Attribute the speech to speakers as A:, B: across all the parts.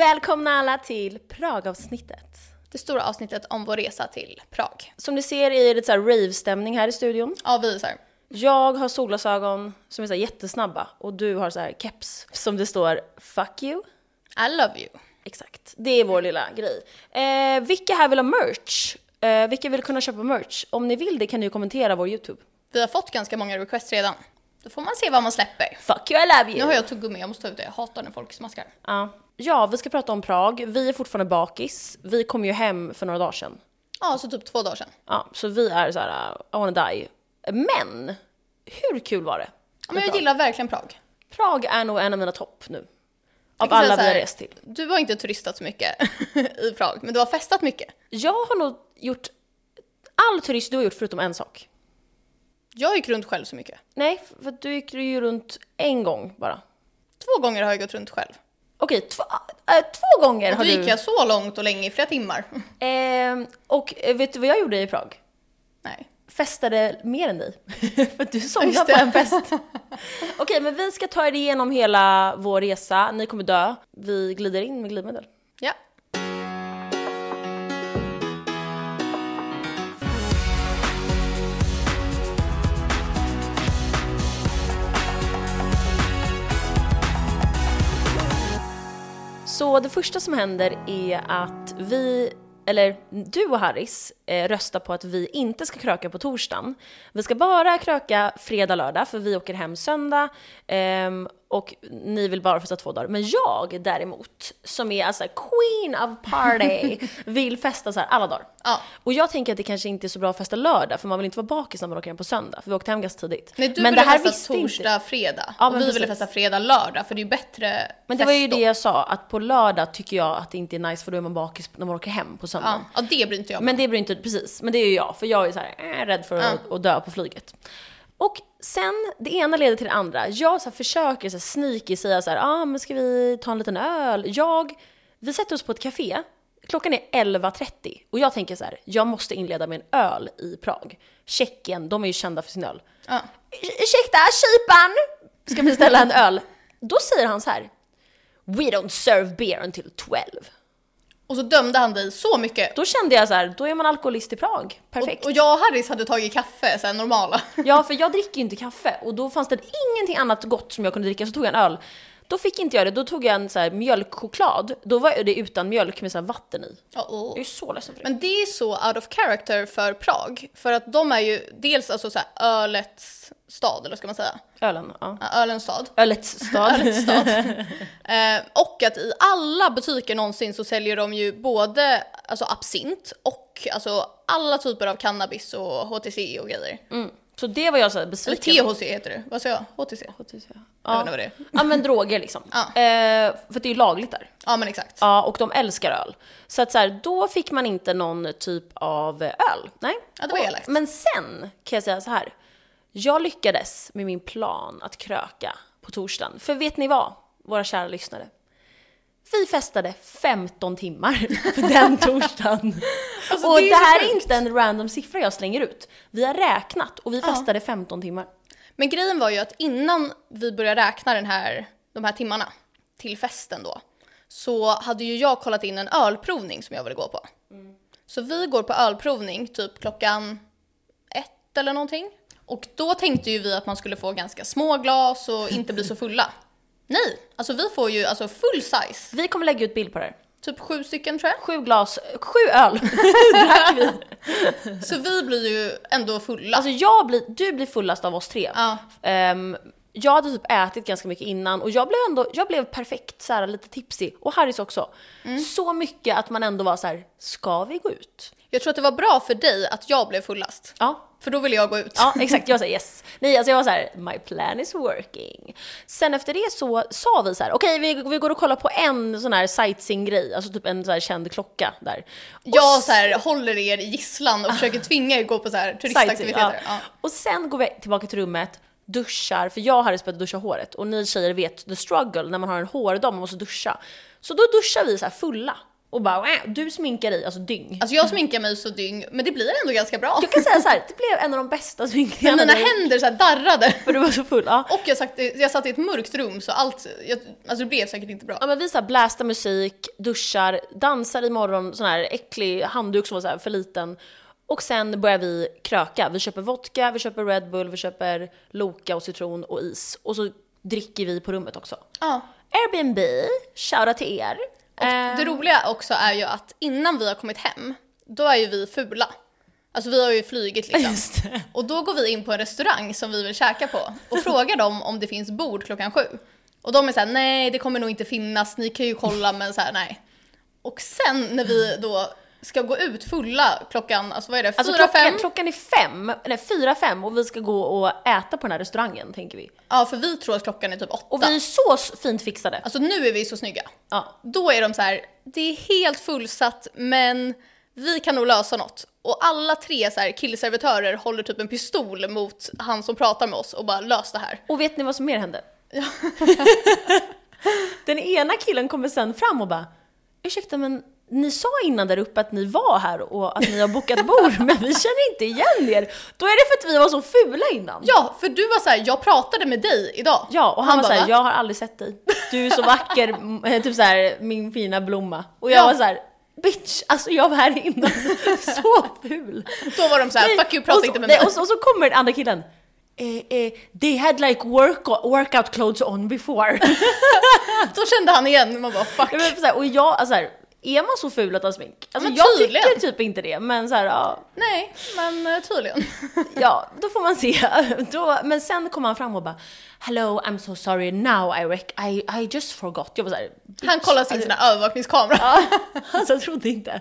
A: Välkomna alla till Prag-avsnittet.
B: Det stora avsnittet om vår resa till Prag.
A: Som ni ser är det lite så här rave-stämning här i studion.
B: Ja, vi är så här.
A: Jag har solglasögon som är så här jättesnabba och du har så här keps som det står “fuck you”.
B: I love you.
A: Exakt, det är vår lilla grej. Eh, vilka här vill ha merch? Eh, vilka vill kunna köpa merch? Om ni vill det kan ni ju kommentera vår YouTube.
B: Vi har fått ganska många requests redan. Då får man se vad man släpper.
A: Fuck you, I love
B: Nu
A: you!
B: har jag tuggummi, jag måste ta ut det. Jag hatar när folk smaskar.
A: Ja. ja, vi ska prata om Prag. Vi är fortfarande bakis. Vi kom ju hem för några dagar sedan.
B: Ja, så typ två dagar sedan.
A: Ja, så vi är så här, I wanna die. Men, hur kul var det?
B: Ja, men jag gillar verkligen Prag.
A: Prag är nog en av mina topp nu. Av
B: kan säga
A: alla vi
B: så
A: har
B: här-
A: rest till.
B: Du har inte turistat så mycket i Prag, men du har festat mycket.
A: Jag har nog gjort all turist du har gjort förutom en sak.
B: Jag gick runt själv så mycket.
A: Nej, för att du gick ju runt en gång bara.
B: Två gånger har jag gått runt själv.
A: Okej, två, äh, två gånger har
B: Då
A: du...
B: gick jag så långt och länge i flera timmar.
A: Ehm, och eh, vet du vad jag gjorde i Prag?
B: Nej.
A: Festade mer än dig. för att du
B: Just
A: somnade
B: det.
A: på en fest. Okej, men vi ska ta er igenom hela vår resa. Ni kommer dö. Vi glider in med glidmedel.
B: Ja.
A: Så det första som händer är att vi, eller du och Harris, eh, röstar på att vi inte ska kröka på torsdagen. Vi ska bara kröka fredag, lördag, för vi åker hem söndag. ehm, och ni vill bara festa två dagar. Men jag däremot, som är alltså queen of party, vill festa så här alla dagar.
B: ja.
A: Och jag tänker att det kanske inte är så bra att festa lördag, för man vill inte vara bakis när man åker hem på söndag, för vi åkte hem ganska tidigt.
B: Nej, du
A: men
B: ville
A: det här
B: festa
A: visste inte-
B: torsdag, fredag.
A: Ja,
B: och vi
A: men
B: ville
A: precis.
B: festa fredag, lördag, för det är ju bättre
A: Men det var ju
B: fest då.
A: det jag sa, att på lördag tycker jag att det inte är nice för då är man bakis när man åker hem på söndagen.
B: Ja, ja det bryr inte jag mig
A: Men det blir inte, precis. Men det är ju jag, för jag är så här, äh, rädd för att, att dö på flyget. Och sen, det ena leder till det andra. Jag så här, försöker så här, sneaky säga så här, ah, men ska vi ta en liten öl? Jag, vi sätter oss på ett café, klockan är 11.30 och jag tänker så här, jag måste inleda med en öl i Prag. Tjeckien, de är ju kända för sin öl.
B: Ja.
A: Ursäkta, kyparen! Ska vi ställa en öl? Då säger han så här, we don't serve beer until 12.
B: Och så dömde han dig så mycket.
A: Då kände jag så här, då är man alkoholist i Prag. Perfekt.
B: Och, och jag och Harris hade tagit kaffe, så här normala.
A: Ja, för jag dricker ju inte kaffe och då fanns det ingenting annat gott som jag kunde dricka, så tog jag en öl. Då fick inte jag det, då tog jag en så här mjölkchoklad. Då var det utan mjölk med så här vatten i.
B: Ja, åh.
A: Jag är så ledsen för det.
B: Men det är så out of character för Prag, för att de är ju dels alltså så här ölets stad, eller vad ska man säga?
A: Ölen, ja.
B: Ja, Ölens stad.
A: Ölets stad.
B: Ölets stad. eh, och att i alla butiker någonsin så säljer de ju både alltså, absint och alltså, alla typer av cannabis och HTC och grejer.
A: Så det var jag så här
B: Eller
A: besviken
B: THC heter det, vad sa jag? HTC? Jag vet inte
A: Ja.
B: vad det är.
A: ja, men droger liksom.
B: Ja.
A: Eh, för det är ju lagligt där.
B: Ja men exakt.
A: Ja, och de älskar öl. Så att så här, då fick man inte någon typ av öl. Nej.
B: Ja, det var elakt.
A: Men sen kan jag säga så här. Jag lyckades med min plan att kröka på torsdagen. För vet ni vad, våra kära lyssnare? Vi festade 15 timmar på den torsdagen.
B: Alltså,
A: och
B: det
A: det,
B: är så
A: här är
B: sjukt.
A: inte en random siffra jag slänger ut. Vi har räknat och vi festade 15 timmar.
B: Men grejen var ju att innan vi började räkna den här, de här timmarna till festen då, så hade ju jag kollat in en ölprovning som jag ville gå på. Så vi går på ölprovning typ klockan ett eller någonting. Och då tänkte ju vi att man skulle få ganska små glas och inte bli så fulla. Nej, alltså vi får ju alltså full size.
A: Vi kommer lägga ut bild på det här.
B: Typ sju stycken tror jag.
A: Sju glas, sju öl.
B: Så vi blir ju ändå fulla.
A: Alltså jag blir, du blir fullast av oss tre.
B: ja.
A: Ehm, jag hade typ ätit ganska mycket innan och jag blev ändå, jag blev perfekt så här, lite tipsig. Och Harris också. Så mycket att man ändå var så här: ska vi gå ut?
B: Jag tror att det var bra för dig att jag blev fullast.
A: Ja.
B: För då ville jag gå ut.
A: Ja exakt, jag var såhär yes. Nej alltså jag var såhär, my plan is working. Sen efter det så sa vi så här: okej vi, vi går och kollar på en sån här sightseeing-grej, alltså typ en så här känd klocka där. Och
B: Jag så här, håller er i gisslan och försöker tvinga er gå på så här,
A: Sightseeing,
B: turistaktiviteter. Ja.
A: Ah. typ. Ja. Och sen går vi tillbaka till rummet, duschar, för jag hade börjat duscha håret och ni tjejer vet the struggle när man har en hårdag, man måste duscha. Så då duschar vi så här fulla Och bara, "Äh, du sminkar i, alltså dyng.
B: Alltså jag sminkar mig så dyng, men det blir ändå ganska bra.
A: Jag kan säga så här, det blev en av de bästa
B: Men
A: sminkningarna.
B: mina
A: där.
B: händer så här darrade.
A: För du var så full. Ja.
B: Och jag satt, jag satt i ett mörkt rum så allt, jag, alltså det blev säkert inte bra.
A: Ja men vi såhär blästa musik, duschar, dansar i morgon sån här äcklig handduk som var så här för liten. Och sen börjar vi kröka. Vi köper vodka, vi köper Red Bull, vi köper Loka och citron och is. Och så dricker vi på rummet också.
B: Ja.
A: Airbnb, shoutout till er.
B: Och
A: Eh,
B: det roliga också är ju att innan vi har kommit hem, då är ju vi fula. Alltså vi har ju flugit liksom.
A: Just det.
B: Och då går vi in på en restaurang som vi vill käka på och frågar dem om det finns bord klockan sju. Och de är såhär, nej det kommer nog inte finnas, ni kan ju kolla men såhär nej. Och sen när vi då ska gå ut fulla klockan, alltså vad är det, fyra,
A: Alltså klockan,
B: fem?
A: klockan är fem, nej fyra, fem och vi ska gå och äta på den här restaurangen tänker vi.
B: Ja för vi tror att klockan är typ åtta.
A: Och vi är så s- fint fixade.
B: Alltså nu är vi så snygga.
A: Ja.
B: Då är de så här, det är helt fullsatt men vi kan nog lösa något. Och alla tre så här, killservitörer håller typ en pistol mot han som pratar med oss och bara lös det här.
A: Och vet ni vad som mer hände? Den ena killen kommer sen fram och bara “Ursäkta men ni sa innan där uppe att ni var här och att ni har bokat bord men vi känner inte igen er. Då är det för att vi var så fula innan.”
B: Ja, för du var så här, jag pratade med dig idag.
A: Ja, och han, var
B: bara,
A: såhär
B: "Va?"
A: “Jag har aldrig sett dig. Du är så vacker, m- eh, typ såhär min fina blomma”. Och jag
B: Ja.
A: var såhär “Bitch, alltså jag var här innan, så ful”.
B: Då var de så här,
A: Nej,
B: fuck you, prata
A: och så,
B: inte med
A: nej,
B: mig.
A: Och så, och så kommer den andra killen. Eh, eh, they had like work, workout clothes on before.
B: Då kände han igen, man bara fuck.
A: Ja, men så här, och jag, alltså så här, är man så ful att ha smink? Alltså
B: Men
A: jag
B: tydligen.
A: tycker typ inte det, men så här, ja,
B: Nej, men eh, tydligen.
A: ja, då får man se. Då, men sen kom han fram och bara “Hello, I'm so sorry, now I rec- I, I just forgot”. Jag var så här,
B: Han kollade sin sån här övervakningskamera.
A: alltså jag trodde inte.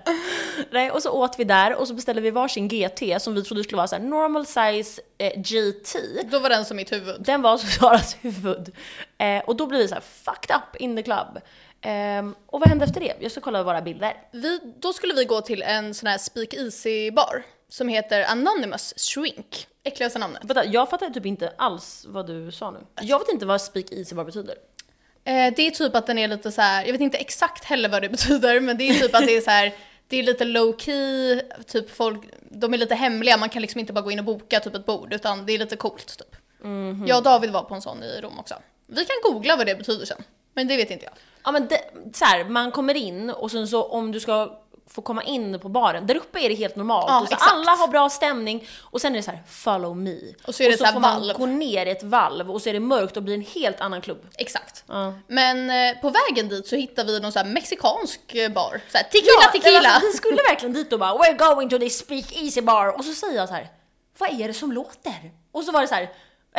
A: Nej, och så åt vi där och så beställde vi varsin GT som vi trodde skulle vara så här normal size eh, GT.
B: Då var den som mitt huvud.
A: Den var som Saras huvud. Eh, och då blev vi så här fucked up in the club. Ehm, och vad hände efter det? Jag ska kolla våra bilder.
B: Vi, då skulle vi gå till en sån här speak easy bar som heter Anonymous Shrink. Äckligaste namnet.
A: Vänta, jag fattar typ inte alls vad du sa nu. Jag vet inte vad speak easy bar betyder.
B: Eh, det är typ att den är lite så här, jag vet inte exakt heller vad det betyder, men det är typ att det är så här, det är lite low key, typ folk, de är lite hemliga, man kan liksom inte bara gå in och boka typ ett bord, utan det är lite coolt typ.
A: Mhm.
B: Jag och David var på en sån i Rom också. Vi kan googla vad det betyder sen, men det vet inte jag.
A: Ja men det, så här, man kommer in och sen så om du ska få komma in på baren, där uppe är det helt normalt.
B: Ja,
A: och så
B: exakt.
A: alla har bra stämning och sen är det så här follow me.
B: Och så är det så här
A: får man
B: valv.
A: gå ner i ett valv och så är det mörkt och blir en helt annan klubb.
B: Exakt.
A: Ja.
B: Men eh, på vägen dit så hittar vi någon så här mexikansk eh, bar. Så här, tequila,
A: Ja, nej, men
B: tequila!
A: Alltså, vi skulle verkligen dit och bara “We're going to this speak easy bar” och så säger jag så här “Vad är det som låter?” och så var det så
B: Eh,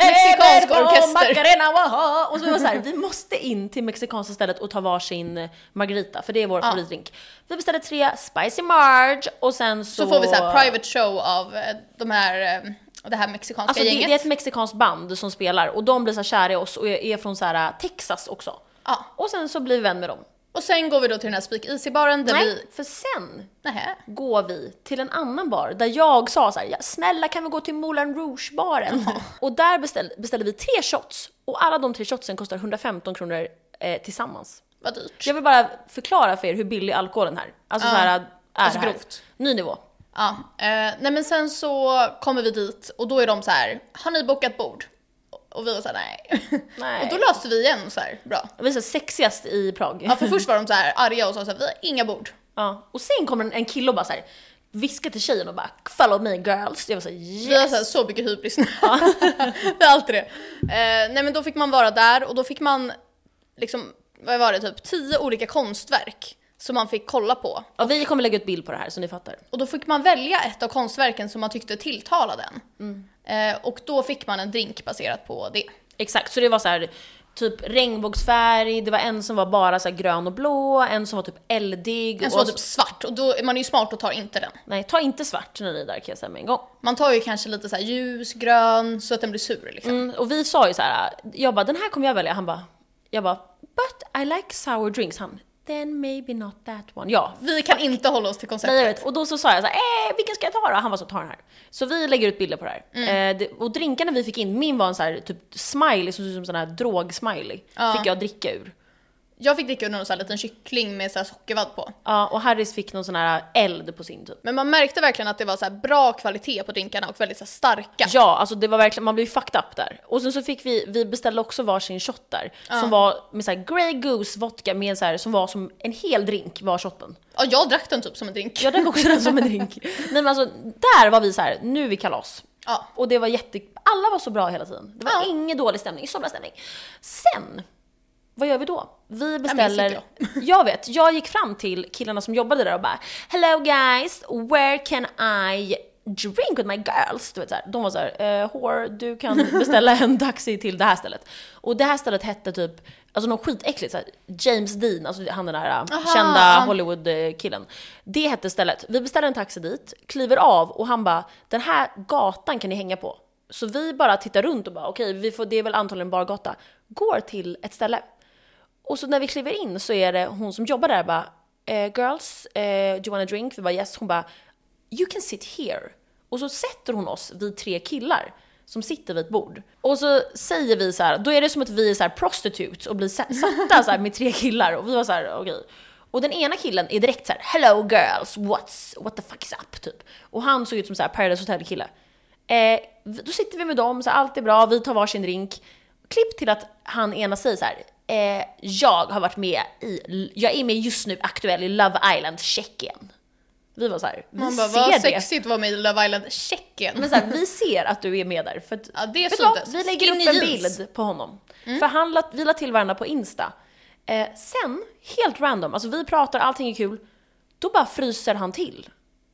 A: här
B: Mexikansk
A: "Evergo,
B: orkester."
A: Macarena, waha. Och så var det så här, vi måste in till mexikanska stället och ta varsin eh, margarita, för det är vår favoritdrink. Vi beställde tre spicy marge och sen så...
B: Så får vi så här private show av eh, de här, eh, det här mexikanska
A: Alltså det,
B: gänget.
A: det är ett mexikanskt band som spelar och de blir så här kära i oss och är från så här eh, Texas också.
B: Ja.
A: Och sen så blir vi vän med dem.
B: Och sen går vi då till den här Speak Easy-baren där
A: Nej,
B: vi...
A: för sen
B: Nähä.
A: går vi till en annan bar där jag sa så här, "Ja, snälla kan vi gå till Moulin Rouge-baren? Och där beställde, beställde vi tre shots och alla de tre shotsen kostar 115 kronor eh, tillsammans.
B: Vad dyrt.
A: Jag vill bara förklara för er hur billig alkoholen här, alltså så här, är
B: alltså
A: det här.
B: grovt.
A: Ny nivå.
B: Ja. Eh, nej men sen så kommer vi dit och då är de så här, har ni bokat bord? Och vi var så här, nej.
A: Nej.
B: Och då löste vi igen så här, bra.
A: Vi är så här sexigast i Prag.
B: Ja för först var de så här arga och sa så här, vi har inga bord.
A: Ja. Och sen kommer en, en kille och bara så här, viskar till tjejen och bara “follow me girls”. Jag var såhär
B: Vi har så, här,
A: yes!
B: så mycket hybris nu. vi har alltid det. Eh, nej men då fick man vara där och då fick man liksom, vad var det, typ tio olika konstverk som man fick kolla på.
A: Ja, vi kommer lägga ut bild på det här så ni fattar.
B: Och då fick man välja ett av konstverken som man tyckte tilltalade en.
A: Mm.
B: Eh, och då fick man en drink baserat på det.
A: Exakt, så det var så här typ regnbågsfärg, det var en som var bara så här grön och blå, en som var typ eldig.
B: En som
A: och
B: var typ svart och då är man ju smart och tar inte den.
A: Nej, ta inte svart när ni är där kan jag säga med en gång.
B: Man tar ju kanske lite så här ljus, grön, så att den blir sur liksom.
A: Mm, och vi sa ju så här, jag bara den här kommer jag välja, han bara, jag bara but I like sour drinks, han then maybe not that one. Ja,
B: Vi kan inte hålla oss till
A: Mm. Nej, jag
B: konceptet.
A: vet. Och då så sa jag så här, eh, vilken ska jag ta då? Han var så, ta den här. Så vi lägger ut bilder på det här.
B: Mm.
A: Eh, det, och drinkarna vi fick in, min var en så här typ smiley som såg ut som en sån här drog-smiley. Fick jag dricka ur.
B: Jag fick dricka ur någon sån här liten kyckling med så här sockervadd på.
A: Ja, och Harris fick någon sån här eld på sin typ.
B: Men man märkte verkligen att det var så här bra kvalitet på drinkarna och väldigt så här starka.
A: Ja, alltså det var verkligen, man blev ju fucked up där. Och sen så fick vi, vi beställde också varsin shot där. Som var med så här Grey Goose vodka med så här, som var som en hel drink var shotten.
B: Ja, jag drack den typ som en drink.
A: Jag drack också den som en drink. Nej men alltså, där var vi så här, nu är vi kalas.
B: Ja.
A: Och det var jätte, alla var så bra hela tiden. Det var
B: Ja.
A: ingen dålig stämning, så bra stämning. Sen, vad gör vi då? Vi beställer...
B: sitter
A: Jag. vet, jag gick fram till killarna som jobbade där och bara “Hello guys, where can I drink with my girls?” du vet, så här. De var såhär eh, “Whore, du kan beställa en taxi till det här stället”. Och det här stället hette typ, alltså något skitäckligt, så här, James Dean, alltså han den där eh,
B: Aha,
A: kända
B: ja.
A: Hollywood-killen. Det hette stället. Vi beställer en taxi dit, kliver av och han bara “Den här gatan kan ni hänga på”. Så vi bara tittar runt och bara okej, vi får det är väl antagligen bargata. Går till ett ställe. Och så när vi kliver in så är det hon som jobbar där bara eh, “Girls, eh, do you wanna drink?” Vi bara “Yes”. Hon bara “You can sit here”. Och så sätter hon oss, vi tre killar, som sitter vid ett bord. Och så säger vi så här, då är det som att vi är så här prostitutes och blir sa- satta så här med tre killar. Och vi var så här okej. Och den ena killen är direkt så här “Hello girls, what's, what the fuck is up?” typ. Och han såg ut som så här Paradise Hotel-kille. Eh, vi- då sitter vi med dem, så här, allt är bra, vi tar varsin drink. Klipp till att han ena säger så här. Eh, jag har varit med i, jag är med just nu aktuell i Love Island Tjeckien. Vi var så här, vi
B: Man bara,
A: ser
B: vad
A: det.
B: sexigt att vara med i Love Island Tjeckien.
A: Men så här, vi ser att du är med där. För att,
B: Ja, det
A: vet du
B: syntes.
A: vad? Vi lägger upp
B: Skinny
A: en
B: jeans.
A: bild på honom.
B: Mm.
A: För han la, vi la till varandra på Insta. Eh, sen, helt random, alltså vi pratar, allting är kul. Då bara fryser han till.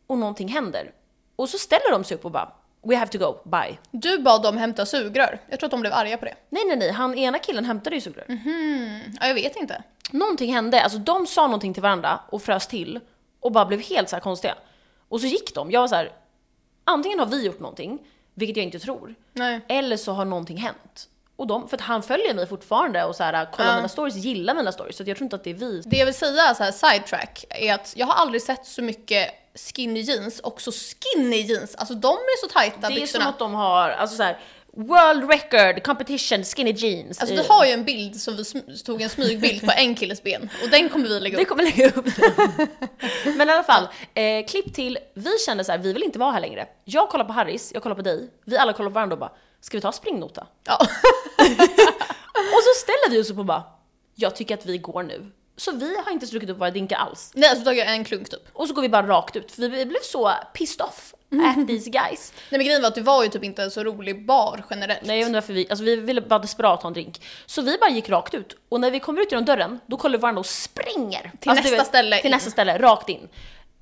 A: Och någonting händer. Och så ställer de sig upp och bara, we have to go, bye.
B: Du bad dem hämta sugrör. Jag tror att de blev arga på det.
A: Nej nej nej, han ena killen hämtade ju sugrör.
B: Ja, jag vet inte.
A: Någonting hände, alltså de sa någonting till varandra och frös till och bara blev helt så här konstiga. Och så gick de, jag var så här, antingen har vi gjort någonting, vilket jag inte tror,
B: Nej.
A: eller så har någonting hänt. Och de, för att han följer mig fortfarande och så här, kollar
B: Ja.
A: mina stories, gillar mina stories, så att jag tror inte att det är vi.
B: Det jag vill säga så här sidetrack är att jag har aldrig sett så mycket skinny jeans och så skinny jeans. Alltså de är så tajta
A: Det är som
B: byxorna.
A: att de har, alltså så här, world record competition skinny jeans.
B: Alltså
A: i-
B: vi har ju en bild som vi sm- tog en smygbild på en killes ben och den kommer vi lägga
A: Vi
B: upp.
A: kommer lägga upp den. Men i alla fall, eh, klipp till, vi kände så här, vi vill inte vara här längre. Jag kollar på Harris, jag kollar på dig, vi alla kollar på varandra och bara, ska vi ta springnota?
B: Ja.
A: Och så ställer vi oss upp och bara, jag tycker att vi går nu. Så vi har inte druckit upp våra drinkar alls.
B: Nej alltså då tog jag en klunk typ.
A: Och så går vi bara rakt ut, för vi blev så pissed off at these guys.
B: Nej men grejen var att det var ju typ inte en så rolig bar generellt.
A: Nej jag undrar varför vi, alltså vi ville bara desperat ha en drink. Så vi bara gick rakt ut och när vi kommer ut genom dörren då kollar vi varandra och springer. Till
B: nästa ställe
A: Till
B: in.
A: nästa ställe, rakt in.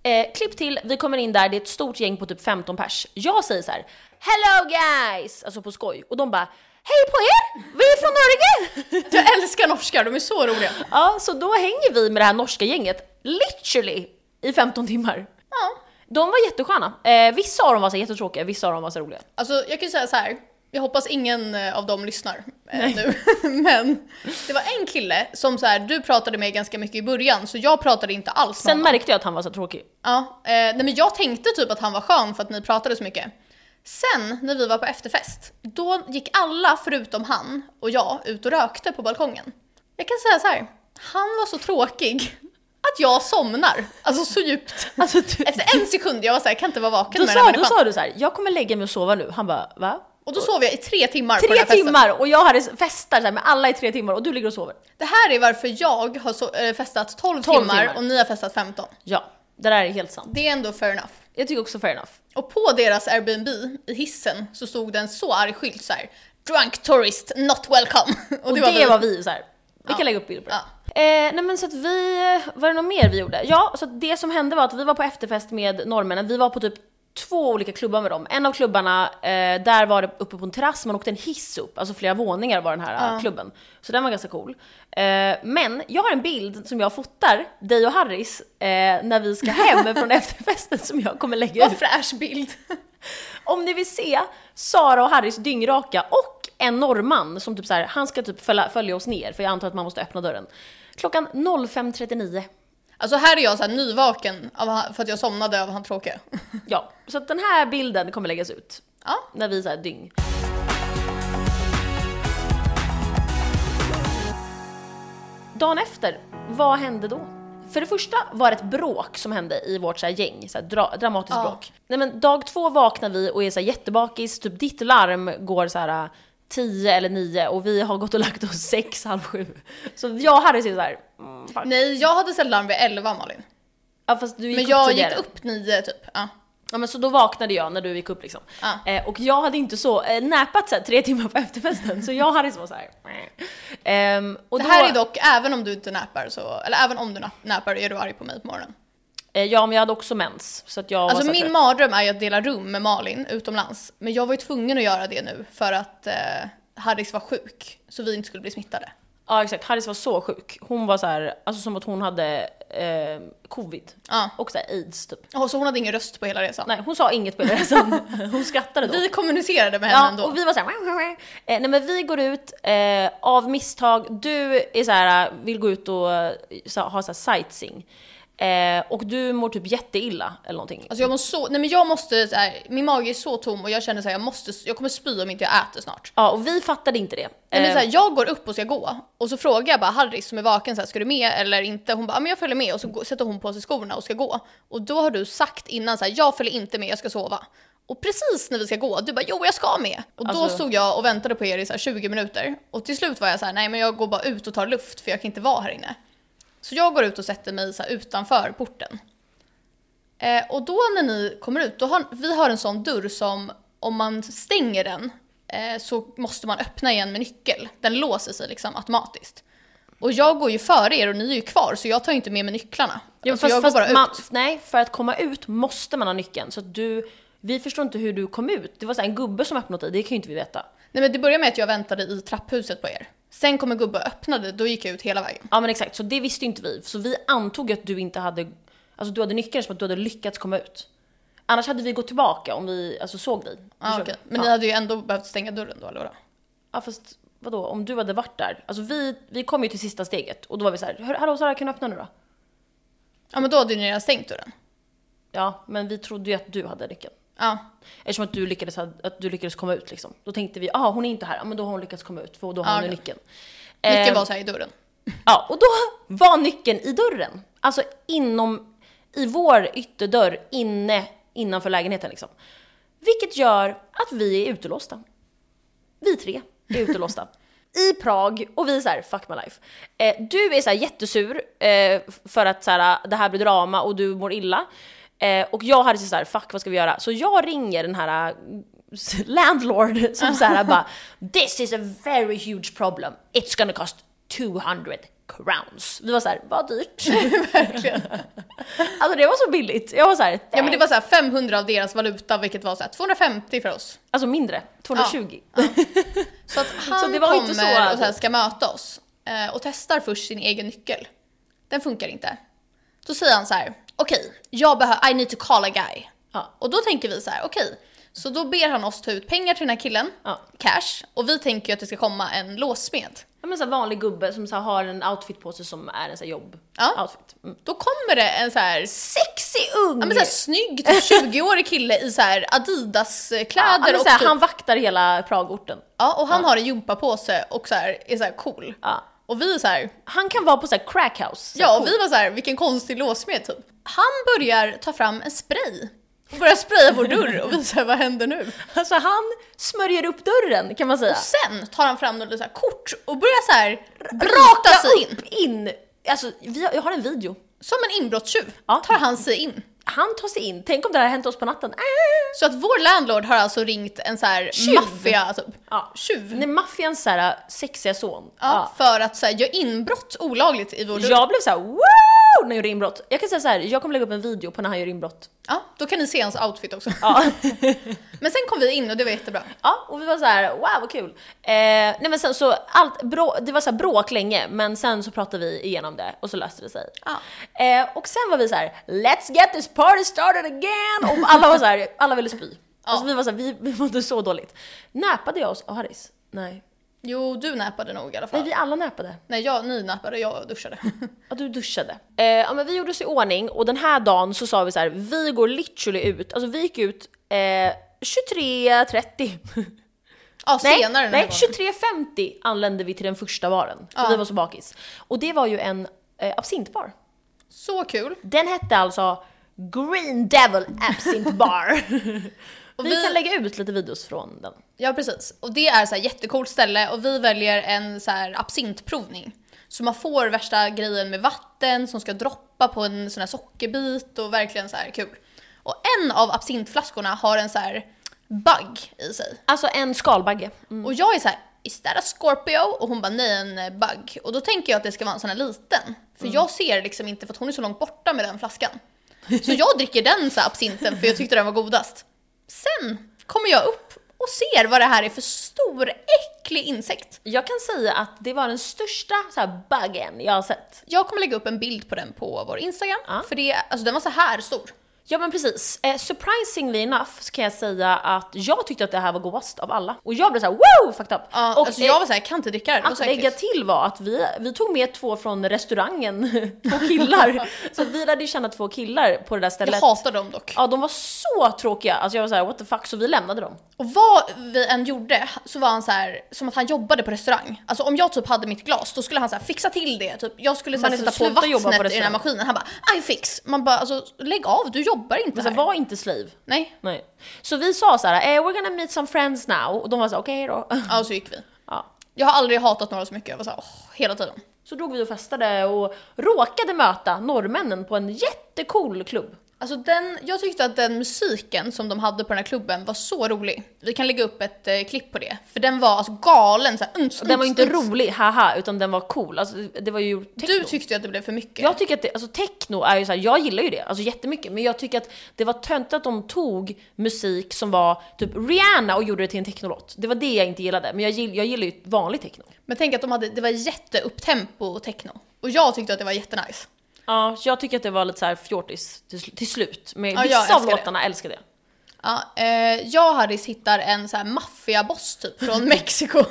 A: Eh, klipp till, vi kommer in där, det är ett stort gäng på typ 15 pers. Jag säger så här: “Hello guys!” Alltså på skoj. Och de bara “Hej på er! Vi är från Norge!”
B: Jag älskar norskar, de är så roliga.
A: Ja, så då hänger vi med det här norska gänget, literally, i 15 timmar.
B: Ja.
A: De var jättesköna. Eh, vissa av dem var så här jättetråkiga, vissa av dem var så här roliga.
B: Alltså jag kan ju säga så här. jag hoppas ingen eh, av dem lyssnar eh, nu. Men det var en kille som så här, du pratade med ganska mycket i början så jag pratade inte alls med
A: Sen
B: honom.
A: märkte jag att han var så här tråkig.
B: Ja, eh, nej men jag tänkte typ att han var skön för att ni pratade så mycket. Sen när vi var på efterfest, då gick alla förutom han och jag ut och rökte på balkongen. Jag kan säga så här, han var så tråkig att jag somnar. Alltså så djupt.
A: Alltså, du,
B: Efter en sekund, jag var så här, jag kan inte vara vaken
A: Då
B: med den här
A: sa, då
B: människan.
A: sa du så här, jag kommer lägga mig och sova nu. Han bara, va?
B: Och då sov jag i tre timmar på den
A: Tre
B: här festen.
A: timmar och jag hade festar så här, med alla i tre timmar och du ligger och sover.
B: Det här är varför jag har so- eh, festat 12,
A: 12
B: timmar,
A: timmar.
B: och ni har festat 15.
A: Ja, det där är helt sant.
B: Det är ändå fair enough.
A: Jag tycker också fair enough.
B: Och på deras Airbnb i hissen så stod det en så arg skylt så här. Drunk tourist not welcome.
A: Och det,
B: typ
A: var, vi så här. Vi kan lägga upp bilder på det. Eh, nej men så att vi, var det något mer vi gjorde? Ja, så att det som hände var att vi var på efterfest med norrmännen, vi var på typ två olika klubbar med dem. En av klubbarna, eh, där var det uppe på en terrass, man åkte en hiss upp, alltså flera våningar var den här eh, klubben. Så den var ganska cool. Eh, men jag har en bild som jag fotar, dig och Harris, eh, när vi ska hem från efterfesten som jag kommer lägga ut.
B: Vad fräsch bild.
A: Om ni vill se Sara och Harrys dyngraka och en norrman som typ så här, han ska typ följa, följa oss ner för jag antar att man måste öppna dörren. Klockan 05.39.
B: Alltså här är jag så här nyvaken av han, för att jag somnade av han tråkiga.
A: Ja, så att den här bilden kommer läggas ut
B: Ja,
A: när vi så här dyng. Dagen efter, vad hände då? För det första var det ett bråk som hände i vårt så här gäng, så här dra- dramatiskt
B: Ja.
A: bråk. Nej, men dag två vaknar vi och är så här jättebakis, typ ditt larm går så här äh, 10 eller 9 och vi har gått och lagt oss 6, halv 7. Så jag och Harry sitter så här, mm, fan.
B: Nej, jag hade ställt larm vid 11 Malin.
A: ja, fast du gick
B: Men
A: upp
B: jag
A: tidigare.
B: gick upp 9 typ. Ja.
A: Ja men så då vaknade jag när du gick upp liksom.
B: Ja.
A: Eh, och jag hade inte så, eh, näpat så här, tre timmar på efterfesten så jag hade så såhär... Ehm, och
B: Det
A: då,
B: här är dock, även om du inte näpar så, eller även om du na- näpar är du arg på mig på morgonen.
A: Eh, ja men jag hade också mens. Så att jag var
B: Alltså
A: så här
B: min
A: trött.
B: mardröm är ju att dela rum med Malin utomlands. Men jag var ju tvungen att göra det nu för att eh, Harris var sjuk. Så vi inte skulle bli smittade.
A: Ja exakt, Harris var så sjuk. Hon var så här, alltså som att hon hade eh, covid.
B: Ja.
A: Och så här, aids typ.
B: Åh, så hon hade ingen röst på hela resan.
A: Nej hon sa inget på hela resan. Hon skrattade då.
B: Vi kommunicerade med henne
A: Ja,
B: ändå.
A: och vi var såhär... Eh, nej men vi går ut eh, av misstag, du är såhär, vill gå ut och eh, så, ha såhär sightseeing. Eh, och du mår typ jätteilla eller någonting.
B: Alltså jag mår så, nej men jag måste, så här, min mage är så tom och jag känner så här, jag måste, jag kommer spy om inte jag äter snart.
A: Ja, och vi fattade inte det.
B: Nej, men
A: Eh,
B: så här, jag går upp och ska gå och så frågar jag bara Harris som är vaken så här, ska du med eller inte? Hon bara, ja, men jag följer med och så går- sätter hon på sig skorna och ska gå. Och då har du sagt innan så här, jag följer inte med, jag ska sova. Och precis när vi ska gå, du bara jo jag ska med. Och då
A: Alltså-
B: stod jag och väntade på er i så här, 20 minuter. Och till slut var jag så här, nej men jag går bara ut och tar luft för jag kan inte vara här inne. Så jag går ut och sätter mig så här, utanför porten. Eh, och då när ni kommer ut, då har, vi har en sån dörr som om man stänger den eh, så måste man öppna igen med nyckel. Den låser sig liksom automatiskt. Och jag går ju före er och ni är ju kvar så jag tar ju inte med mig nycklarna.
A: jo,
B: så jag går bara
A: man,
B: ut.
A: Nej, för att komma ut måste man ha nyckeln. Så att du, vi förstår inte hur du kom ut. Det var så här en gubbe som öppnade åt dig, det kan ju inte vi veta.
B: Nej men det började med att jag väntade i trapphuset på er. Sen kommer gubbe och öppnade, då gick jag ut hela vägen.
A: Ja men exakt, så det visste ju inte vi. Så vi antog att du inte hade, alltså du hade nyckeln som att du hade lyckats komma ut. Annars hade vi gått tillbaka om vi alltså, såg dig.
B: Ah,
A: Förstår
B: okej.
A: du?
B: Men ni
A: ja.
B: hade ju ändå behövt stänga dörren då eller vadå?
A: ja fast vadå, om du hade varit där. Alltså vi, vi kom ju till sista steget och då var vi så här, "Hör- hallå Sara kan du öppna nu då?
B: Ja men då hade ju ni redan stängt dörren.
A: Ja, men vi trodde ju att du hade nyckeln.
B: Ja.
A: Eftersom att du lyckades, att du lyckades komma ut liksom. Då tänkte vi, ah hon är inte här, ja, men då har hon lyckats komma ut för då har
B: Ja,
A: hon ju
B: okej.
A: nyckeln.
B: Nyckeln
A: Ehm,
B: var så här i dörren.
A: Ja, och då var nyckeln i dörren. Alltså inom, i vår ytterdörr inne innanför lägenheten liksom. Vilket gör att vi är utelåsta. Vi tre är utelåsta. I Prag och vi är så här, fuck my life. Eh, du är så här jättesur eh, för att så här, det här blir drama och du mår illa. Eh, och jag hade så här, fuck vad ska vi göra? Så jag ringer den här eh, landlord som så här bara “This is a very huge problem, it's gonna cost 200 crowns”. Vi var så här, vad dyrt.
B: Verkligen.
A: Alltså det var så billigt. Jag var så här,
B: Ja men det var så här 500 av deras valuta vilket var så här 250 för oss.
A: alltså mindre, 220.
B: Så att han
A: Så det var
B: kommer
A: inte så
B: och så här ska möta oss eh, och testar först sin egen nyckel. Den funkar inte. Då säger han så här, okej, jag behöver, I need to call a guy.
A: Ja.
B: Och då tänker vi så här, okej. Så då ber han oss ta ut pengar till den här killen,
A: Ja.
B: cash, och vi tänker ju att det ska komma en låssmed.
A: Ja men så här vanlig gubbe som så här har en outfit på sig som är en så här jobb
B: Ja.
A: outfit. Mm.
B: Då kommer det en så här
A: Sexig ung!
B: Ja men såhär snygg typ 20-årig kille i såhär Adidas-kläder
A: han, är
B: och
A: så här,
B: typ,
A: han vaktar hela Pragorten.
B: ja, och han har en gympapåse och såhär, är såhär cool.
A: Ja.
B: Och vi är såhär,
A: Han kan vara på så här crackhouse. Så här
B: Ja, och
A: cool.
B: vi var så här, vilken konstig låsmed typ. Han börjar ta fram en spray och börjar spraya vår dörr och vi säger vad händer nu?
A: Alltså han smörjer upp dörren kan man säga.
B: Sen tar han fram något litet så här kort och börjar så här bryta sig in.
A: upp, in! Alltså vi, har- jag har en video.
B: Som en inbrottstjuv
A: Ja.
B: tar han sig in.
A: Han tar sig in, tänk om det här hänt oss på natten. Äh!
B: Så att vår landlord har alltså ringt en så här
A: Tjuv.
B: maffia typ.
A: Ja.
B: Tjuv.
A: Nej, maffians så här sexiga son.
B: Ja, för att så här, göra inbrott olagligt i vår dörr. Ja.
A: Jag blev så här wow! När jag gjorde inbrott. Jag kan säga så här, jag kommer lägga upp en video på när han gör inbrott.
B: då kan ni se hans outfit också.
A: Ja.
B: Men sen kom vi in och det var jättebra.
A: Ja, och vi var så här, wow vad kul. Eh, nej men sen så, allt, brå, det var så här bråk länge, men sen så pratade vi igenom det och så löste det sig.
B: Ja.
A: Eh, och sen var vi så här, let's get this party started again! Och alla var så här, alla ville spy. Alltså vi var så här, vi, vi mådde så dåligt. Näpade jag oss av Harris? Nej.
B: Jo, du näpade nog i alla fall.
A: Nej,
B: Nej,
A: vi alla näpade.
B: jag, ni näpade, jag duschade.
A: Ja, du duschade. Eh, ja, men vi gjorde oss i ordning och den här dagen så sa vi så här, vi går literally ut, alltså vi gick ut eh, 23.30.
B: Ja,
A: Nej,
B: senare den
A: nej
B: här gången.
A: 23.50 anlände vi till den första baren, för
B: Ja.
A: vi var så bakis. Och det var ju en eh, absintbar.
B: Så kul.
A: Den hette alltså Green Devil Absinthe Bar.
B: Och
A: vi,
B: vi-
A: kan lägga ut lite videos från den.
B: Ja precis. Och det är så här jättecoolt ställe och vi väljer en så här absintprovning. Så man får värsta grejen med vatten som ska droppa på en sån här sockerbit och verkligen så här kul. Och en av absintflaskorna har en så här bugg i sig.
A: Alltså en skalbagge. Mm.
B: Och jag är så här, is that a Scorpio? Och hon bara, nej en eh, bugg. Och då tänker jag att det ska vara en sån här liten. För
A: Mm.
B: jag ser liksom inte, för att hon är så långt borta med den flaskan. Så jag dricker den så här absinten för jag tyckte den var godast. Sen kommer jag upp och ser vad det här är för stor äcklig insekt.
A: Jag kan säga att det var den största så här, buggen jag har sett.
B: Jag kommer lägga upp en bild på den på vår Instagram.
A: Ja.
B: För det, alltså den var så här stor.
A: Ja men precis. Eh, surprisingly enough så kan jag säga att jag tyckte att det här var godast av alla. Och jag blev såhär wow fucked up!
B: Ja,
A: och
B: alltså
A: eh,
B: jag var så här, jag kan inte dricka det, det var
A: att
B: så
A: lägga
B: äckligt.
A: till var att vi, vi tog med två från restaurangen, två killar. så vi lärde ju känna två killar på det där
B: Jag
A: stället.
B: hatar dem dock.
A: Ja de var så tråkiga, alltså jag var såhär what the fuck så vi lämnade dem.
B: Och vad vi än gjorde så var han så här som att han jobbade på restaurang. Alltså om jag typ hade mitt glas då skulle han så här fixa till det. Typ. Jag skulle så här,
A: Men
B: sätta
A: alltså,
B: på
A: sluta jobba på
B: vattnet i den
A: restaurang.
B: här maskinen. Han bara I fix. Man bara alltså lägg av, du jobbar inte
A: Men så
B: här.
A: här, Alltså, var inte slave.
B: Nej.
A: Nej. Så vi sa såhär eh, we're gonna meet some friends now och de var såhär okej då.
B: Ja och så gick vi.
A: ja.
B: Jag har aldrig hatat några så mycket. Jag var så här, åh, hela tiden.
A: Så drog vi och festade och råkade möta norrmännen på en jättecool klubb.
B: Alltså den, jag tyckte att den musiken som de hade på den här klubben var så rolig. Vi kan lägga upp ett eh, klipp på det. För den var alltså galen så här, uns,
A: Den var ju
B: uns,
A: inte
B: uns.
A: rolig, haha, utan den var cool. Alltså, det var ju techno.
B: Du tyckte ju att det blev för mycket.
A: jag tycker att det, alltså techno är ju så här, jag gillar ju det, alltså jättemycket, men jag tycker att det var tönt att de tog musik som var typ Rihanna och gjorde det till en technolåt. Det var det jag inte gillade, men jag, gill, jag gillar ju vanlig techno.
B: Men tänk att de hade, det var jätteupptempo och techno. Och jag tyckte att det var jättenice.
A: Ja, så jag tycker att det var lite så här fjortis till, sl- till slut, men
B: Ja, jag
A: vissa av
B: älskar det.
A: låtarna älskar det.
B: Ja, eh, jag och Harris hittar en så här maffiaboss typ från Mexiko.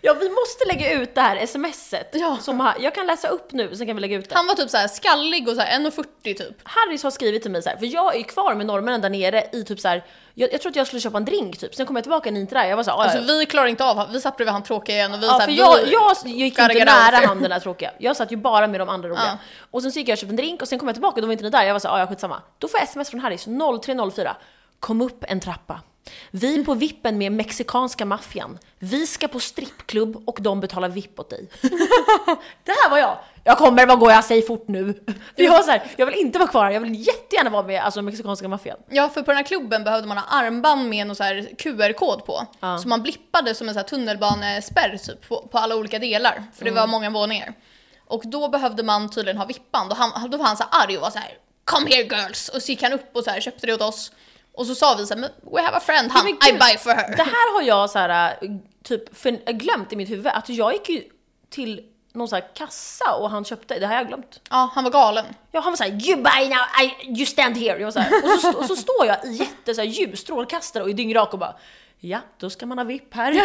A: Ja, vi måste lägga ut det här smset,
B: Ja.
A: som ha, jag kan läsa upp nu, sen kan vi lägga ut det.
B: Han var typ så här skallig och så här 1,40 typ.
A: Harris har skrivit till mig så här, för jag är ju kvar med norrmännen där nere i typ så här. Jag, jag tror att jag skulle köpa en drink typ, sen kom jag tillbaka ni är inte där, jag var såhär
B: Alltså vi klarar inte av, vi satt bredvid han tråkiga igen och vi
A: Ja,
B: så här,
A: för jag,
B: vi,
A: jag gick
B: gotta
A: inte
B: get out of
A: nära
B: here.
A: han den där tråkiga. Jag satt ju bara med de andra roliga.
B: Ja.
A: Och sen så gick jag och köpte en drink och sen kom jag tillbaka och då var inte ni där. Jag var såhär, ja ja, skitsamma. Då får jag sms från Harris 0304. Kom upp en trappa. Vi på vippen med mexikanska maffian. Vi ska på strippklubb och de betalar vipp åt dig. det här var jag. Jag kommer, vad går jag? Säg fort nu. För jag var så här, jag vill inte vara kvar här. Jag vill jättegärna vara med alltså mexikanska maffian.
B: Ja för på den här klubben behövde man ha armband med någon så här QR-kod på. Så man blippade som en så här tunnelbanespärr typ på, på alla olika delar. För det
A: Mm.
B: var många våningar. Och då behövde man tydligen ha vippband och han, då var han så här arg och var så här “Come here girls” och så gick han upp och så här köpte det åt oss. Och så sa vi så här "Men “We have a friend, han,
A: men
B: I
A: gud,
B: buy for her”.
A: Det här har jag så här, äh, typ för, glömt i mitt huvud, att jag gick ju till någon så här kassa och han köpte, det här har jag glömt.
B: Ja, han var galen.
A: Ja, han var såhär “You buy now, I, you stand here”. Jag var så här, och, så, st- och så står jag i jätte så här, ljus strålkastare och är dyngrak och bara “Ja, då ska man ha vipp här”.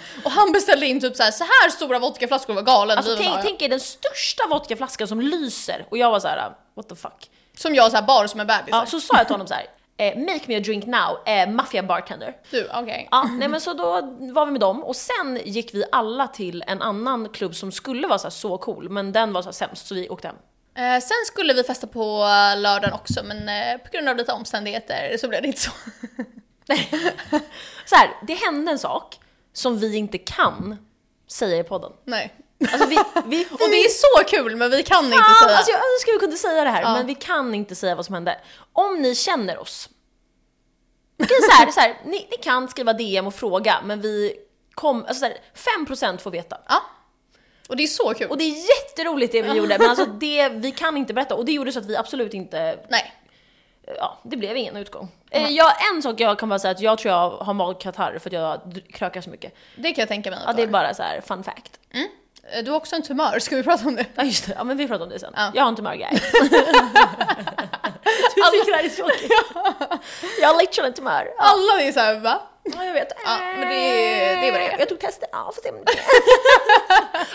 B: Och han beställde in typ så här, så här stora vodkaflaskor och var galen.
A: alltså
B: Vi var
A: tänk,
B: bara-
A: tänk er den största vodkaflaskan som lyser och jag var så här äh, “What the fuck?”
B: Som jag så här bar som en bebis.
A: ja, Så sa jag till honom så här eh, “Make me a drink now, eh, maffia bartender”.
B: Du, okej.
A: Ja, nej men så då var vi med dem och sen gick vi alla till en annan klubb som skulle vara så, här så cool men den var så här sämst så vi åkte hem.
B: Eh, sen skulle vi festa på lördagen också men eh, på grund av lite omständigheter så blev det inte så.
A: Så här, det hände en sak som vi inte kan säga i podden.
B: Nej.
A: Alltså vi, vi,
B: Och det är så kul men vi kan inte
A: Fan,
B: säga.
A: Alltså jag önskar vi kunde säga det här
B: Ja.
A: men vi kan inte säga vad som hände. Om ni känner oss. Okej så här, så här ni, ni kan skriva DM och fråga men vi kom, alltså så här, 5% får veta.
B: Ja. Och det är så kul.
A: Och det är jätteroligt det vi gjorde men alltså det, vi kan inte berätta och det gjorde så att vi absolut inte
B: Nej.
A: ja, det blev ingen utgång. Eh, jag, en sak jag kan bara säga att jag tror jag har magkatarr för att jag dr- krökar så mycket.
B: Det kan jag tänka mig att
A: Ja, det är
B: var.
A: bara så här fun fact.
B: Eh, Du har också en tumör, ska vi prata om det?
A: Ja just det, ja, men vi pratar om det sen.
B: Ja.
A: Jag har inte tumör guys. du tycker det här är tråkigt. jag har literally en tumör. Ja,
B: Alla är såhär va?
A: jag vet.
B: Ja, men det- det är vad det är.
A: Jag tog tester, ja får se om det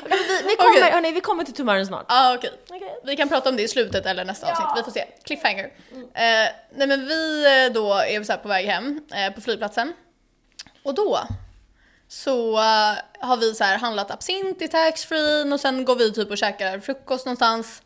A: Men vi, vi, kommer,
B: Okej.
A: hörni, vi kommer till tumören snart.
B: Ja okej.
A: Okej.
B: Vi kan prata om det i slutet eller nästa
A: Ja.
B: avsnitt, vi får se. Cliffhanger. Eh, nej men vi eh, då är så här på väg hem eh, på flygplatsen. Och då så eh, har vi så här handlat absint i taxfree och sen går vi typ och käkar frukost någonstans.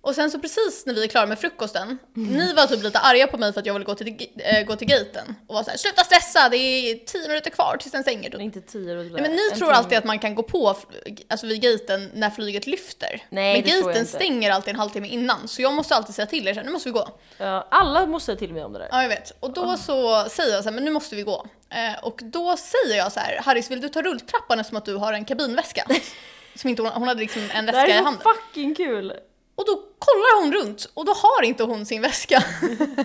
B: Och sen så precis när vi är klara med frukosten, ni var typ lite arga på mig för att jag ville gå till, äh, gå till gaten och var så här: sluta stressa det är 10 minuter kvar tills den stänger.
A: Det är Inte tio och
B: Nej, men ni tror alltid att man kan gå på fl- alltså vid gaten när flyget lyfter.
A: Nej,
B: men
A: det tror jag
B: gaten
A: inte.
B: stänger alltid en halvtimme innan så jag måste alltid säga till er så här, nu måste vi gå.
A: Ja, alla måste säga till mig om det där.
B: Ja, jag vet. Och då så säger jag så här, men nu måste vi gå. Eh, och då säger jag så här, Harris vill du ta rulltrappan eftersom att du har en kabinväska? Som inte hon, hon hade liksom en
A: det här
B: väska i
A: är så
B: handen.
A: fucking kul!
B: Och då kollar hon runt och då har inte hon sin väska.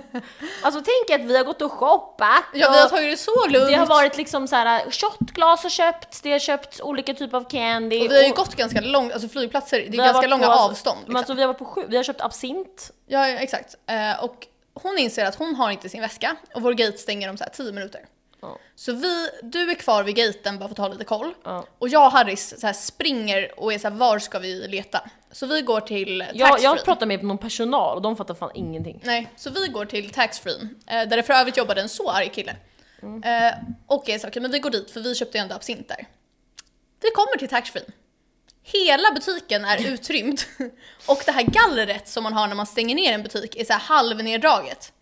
A: Alltså tänk att vi har gått och shoppat
B: Ja, vi har tagit det så lugnt.
A: Det har varit liksom så här shotglas har köpts, det har köpts olika typer av candy.
B: och vi har ju
A: och-
B: gått ganska långt, alltså flygplatser, det är
A: vi har
B: ganska
A: varit
B: långa
A: på, alltså-
B: avstånd. liksom.
A: Men alltså, vi har varit på sju, vi har köpt absint.
B: Ja, ja, exakt. Eh, och hon inser att hon har inte sin väska och vår gate stänger om så här 10 minuter.
A: Ja.
B: Så vi, du är kvar vid gaten bara för att ta lite koll.
A: Ja.
B: Och jag och Harris så här springer och är så här, var ska vi leta? Så vi går till
A: Jag,
B: taxfree.
A: jag pratade med någon personal och de fattar fan ingenting.
B: Nej, så vi går till taxfree eh, där det för övrigt jobbade en så arg kille.
A: Mm.
B: Eh, och jag sa okej, men vi går dit för vi köpte ju ändå absint där. Vi kommer till taxfree. Hela butiken är utrymd och det här gallret som man har när man stänger ner en butik är så här halvneddraget.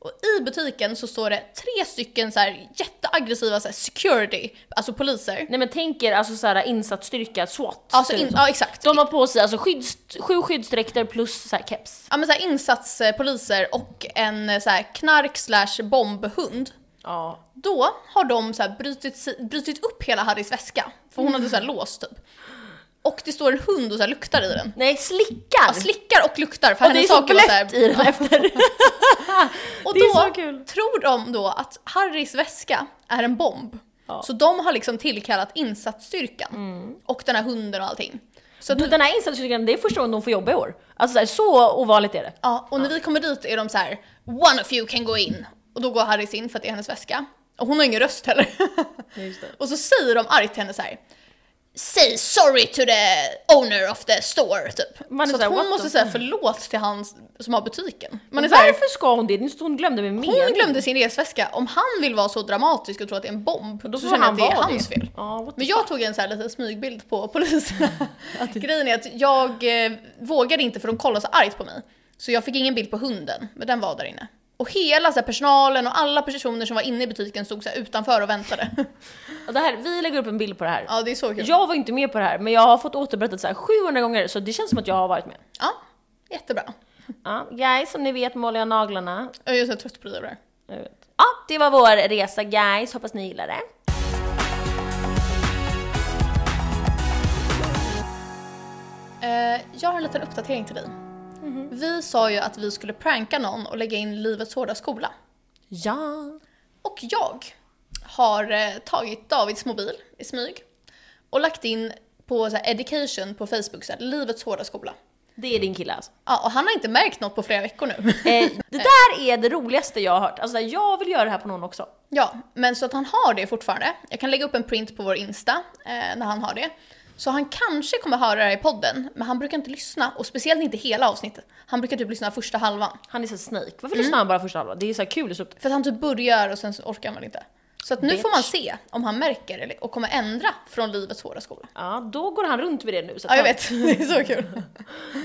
B: Och i butiken så står det tre stycken så här jätteaggressiva så här security, alltså poliser.
A: Nej men tänk er alltså såhär insatsstyrka, SWAT.
B: Alltså
A: ser det
B: in,
A: ut som.
B: ja exakt.
A: de har på sig alltså skydds, sju skyddsdräkter plus så här keps.
B: Ja men så här insatspoliser och en eh, så här knark slash bombhund.
A: Ja.
B: Då har de så här brutit, si- brutit upp hela Harrys väska, för hon hade så här låst typ. Och det står en hund och så här luktar i den.
A: Nej slickar!
B: Ja, slickar och luktar för
A: och det är
B: hennes
A: så
B: saker var så
A: blött
B: här.
A: i den efter.
B: Och
A: det är
B: då
A: så kul.
B: tror de då att Harrys väska är en bomb.
A: Ja. Mm.
B: Så de har liksom tillkallat insatsstyrkan och den här hunden och allting. Så att
A: Du, Den här insatsstyrkan, det är första gången de får jobba i år. Alltså så, här, så ovanligt är det.
B: Ja, och när vi kommer dit är de så här: “One of you can go in” och då går Harris in för att det är hennes väska. Och hon har ingen röst heller. och så säger de argt till henne så här. “Say sorry to the owner of the store” typ.
A: Man är
B: så
A: så här,
B: att hon
A: what
B: måste
A: the-
B: säga förlåt till han som har butiken. Man är så här,
A: Varför ska hon det? Det är inte så Hon glömde med mening.
B: hon glömde sin resväska, om han vill vara så dramatisk och tro att det är en bomb
A: Då
B: så
A: får
B: känner jag
A: han
B: att det är
A: vara
B: hans
A: det.
B: fel.
A: Ja, what the
B: Men jag tog en så här liten smygbild på polisen.
A: typ.
B: Grejen är att jag eh, vågade inte för de kollade så argt på mig. Så jag fick ingen bild på hunden, men den var där inne. Och hela så här, personalen och alla personer som var inne i butiken stod så här, utanför och väntade.
A: Ja, Det här, vi lägger upp en bild på det här.
B: ja, det är så kul. Ja.
A: Jag var inte med på det här, men jag har fått återberättat så här 700 gånger, så det känns som att jag har varit med.
B: jättebra.
A: Ja, guys, som ni vet målar jag naglarna.
B: Jag är så trött på det där.
A: Jag vet. Ja, det var vår resa guys, hoppas ni gillar det.
B: Eh, jag har en liten uppdatering till dig. Vi sa ju att vi skulle pranka någon och lägga in Livets Hårda Skola.
A: Ja.
B: Och jag har eh, tagit Davids mobil i smyg och lagt in på så här, education på Facebook, så här, livets hårda skola.
A: Det är din kille alltså.
B: Ja, och han har inte märkt något på flera veckor nu.
A: Eh, det där är det roligaste jag har hört. Alltså jag vill göra det här på någon också.
B: ja, men så att han har det fortfarande. Jag kan lägga upp en print på vår Insta eh, när han har det. Så han kanske kommer höra det här i podden, men han brukar inte lyssna. Och speciellt inte hela avsnittet. Han brukar typ lyssna första halvan.
A: Han är så snake. Varför lyssnar han bara första halva? Det är så här kul att stå upp.
B: För att han typ börjar och sen så orkar man inte. Så att nu
A: Bitch.
B: får man se om han märker eller, och kommer ändra från livets hårda skola.
A: Ja, då går han runt med det nu. Så att
B: Ja,
A: han-
B: jag vet. Det är så kul.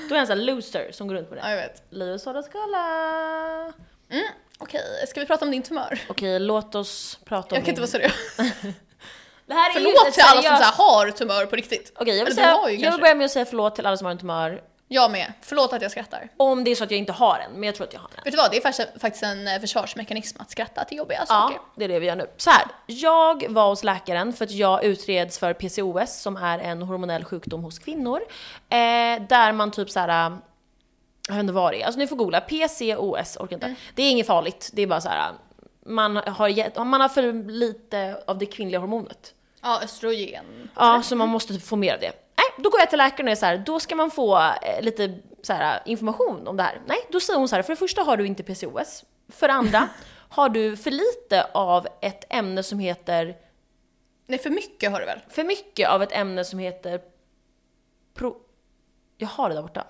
A: Då är han såhär loser som går runt med det.
B: Ja, jag vet.
A: Livets hårda skala.
B: Mm, okej, ska vi prata om din tumör?
A: Okej, låt oss prata om
B: Jag kan inte vara
A: min-
B: seriös.
A: Det här är ju
B: Förlåt
A: ett
B: till alla som så
A: seriöst-
B: här har tumör på riktigt.
A: Okej, jag vill,
B: Eller du
A: säga,
B: har ju
A: jag
B: kanske.
A: vill börja med att säga förlåt till alla som har en tumör.
B: Jag med. Förlåt att jag skrattar.
A: Om det är så att jag inte har en, men jag tror att jag har en.
B: Vet du vad, det är faktiskt- faktiskt en eh, försvarsmekanism att skratta till jobbiga
A: Ja,
B: saker.
A: det är det vi gör nu. Så här, jag var hos läkaren för att jag utreds för PCOS som är en hormonell sjukdom hos kvinnor. Eh, där man typ så här. äh, jag vet inte vad det är, alltså ni får googla, PCOS, orkar
B: Mm.
A: inte. Det är inget farligt, det är bara så här. äh, man har, gett- man har för lite av det kvinnliga hormonet.
B: Ja, östrogen.
A: Ja, så man måste typ få mer av det. Nej, då går jag till läkaren och är så här, då ska man få eh, lite så här, information om det här. Nej, då säger hon så här, för det första har du inte PCOS. För det andra har du för lite av ett ämne som heter,
B: Nej, för mycket har du väl?
A: för mycket av ett ämne som heter pro... Jag har det där borta.